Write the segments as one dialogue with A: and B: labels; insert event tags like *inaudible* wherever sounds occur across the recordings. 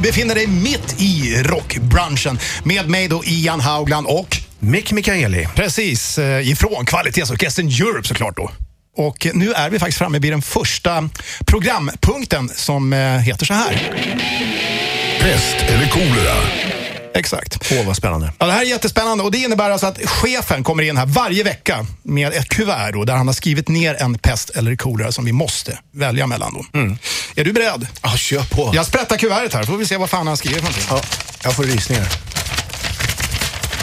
A: befinner dig mitt i rockbranschen. Med mig då Ian Haugland och
B: Mick Mikaeli.
A: Precis, eh, ifrån Kvalitetsorkestern Europe såklart då. Och eh, nu är vi faktiskt framme vid den första programpunkten som eh, heter så här.
C: Pest eller kolera?
A: Exakt.
B: Åh, vad spännande.
A: Ja, det här är jättespännande och det innebär alltså att chefen kommer in här varje vecka med ett kuvert då, där han har skrivit ner en pest eller kolera som vi måste välja mellan. Då. Är du beredd?
B: Ah, kör på.
A: Jag sprättar kuvertet här, får vi se vad fan han skriver för någonting.
B: Ja, jag får rysningar.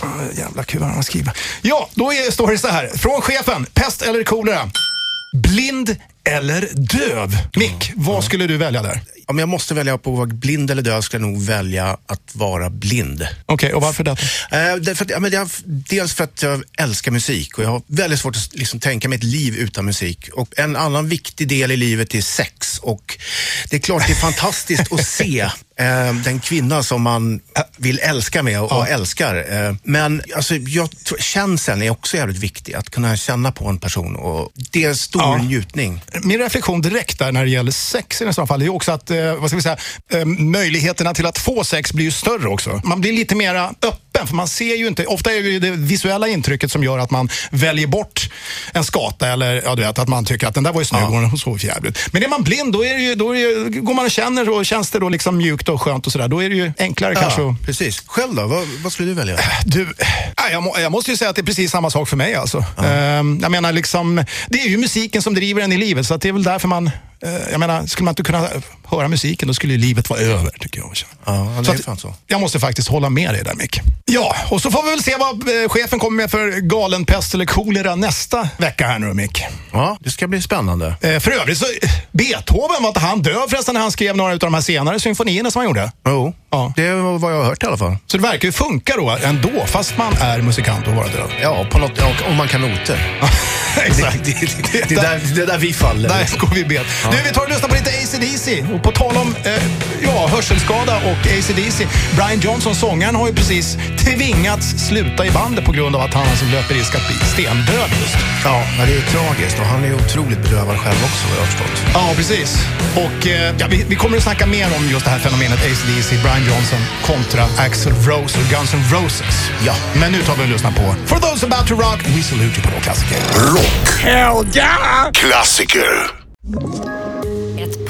A: Eh, Jävla kuvert han skriver. Ja, då är, står det så här. Från chefen, pest eller kolera? Blind eller döv? Mick, vad skulle du välja där?
B: Om jag måste välja på att vara blind eller döv skulle jag nog välja att vara blind.
A: Okej, och varför detta?
B: Eh, därför att, ja, men jag, dels för att jag älskar musik och jag har väldigt svårt att liksom, tänka mig ett liv utan musik. Och en annan viktig del i livet är sex och det är
A: *laughs*
B: klart det är fantastiskt att se eh, den kvinna som man vill älska med och, och älskar. Eh, men alltså, jag tror, känslan är också jävligt viktig, att kunna känna på en person och det är en stor
A: Ja.
B: njutning.
A: Min reflektion direkt där när det gäller sex i nästan fall är ju också att eh, vad ska vi säga, eh, möjligheterna till att få sex blir ju större också. Man blir lite mera öppen för man ser ju inte, ofta är det ju det visuella intrycket som gör att man väljer bort en skata eller ja, du vet, att man tycker att den där var ju snygg och hon såg förjävligt ut. Men är man blind då, är det ju, då är det, ju- går man och känner och känns det då liksom mjukt och skönt och sådär. Då är det ju enklare kanske att
B: Ja, precis. Själv då? Vad, vad skulle
A: *clears throat*
B: du välja?
A: Du, nej, jag, må, jag måste ju säga att det är precis samma sak för mig. Alltså. Ehm, jag menar, liksom, det är ju musiken som driver en i livet, så att det är väl därför man... eh, jag menar, skulle man inte kunna höra musiken, då skulle ju livet vara över, tycker jag.
B: Ja, det
A: Så
B: är
A: att-
B: fan så.
A: Jag måste faktiskt hålla med dig där, Mick. Ja, och så får vi väl se vad eh, chefen kommer med för galenpest eller kolera nästa vecka här nu, Mick.
B: Ja, det ska bli spännande.
A: Eh, för övrigt, så, Beethoven, var inte han döv förresten när han skrev några av de här senare symfonierna som han gjorde?
B: Jo,
A: Ja.
B: det var vad jag har hört i alla fall.
A: Så det verkar ju funka då ändå, fast man är musikant och vara döv.
B: Ja, på något, och, och man kan noter.
A: Exakt.
B: Det, det, det, är där, det är där
A: *laughs*
B: vi faller.
A: Där går vi bet. Du, vi tar och lyssnar på lite AC/DC Och på tal om eh, ja, hörselskada och AC/DC Brian Johnson, sångaren, har ju precis tvingats sluta i bandet på grund av att han alltså löper risk att bli stendöd just.
B: Ja, men det är tragiskt och han är ju otroligt bedrövad själv också vad jag har förstått.
A: Ja, precis. Och eh, ja, vi, vi kommer att snacka mer om just det här fenomenet AC/DC, Brian Johnson kontra Axl Rose och Guns N' Roses.
B: Ja.
A: Men nu tar vi och lyssnar på For those about to rock, we salute you på rockklassiker.
C: Rock. Klassiker.
D: Ett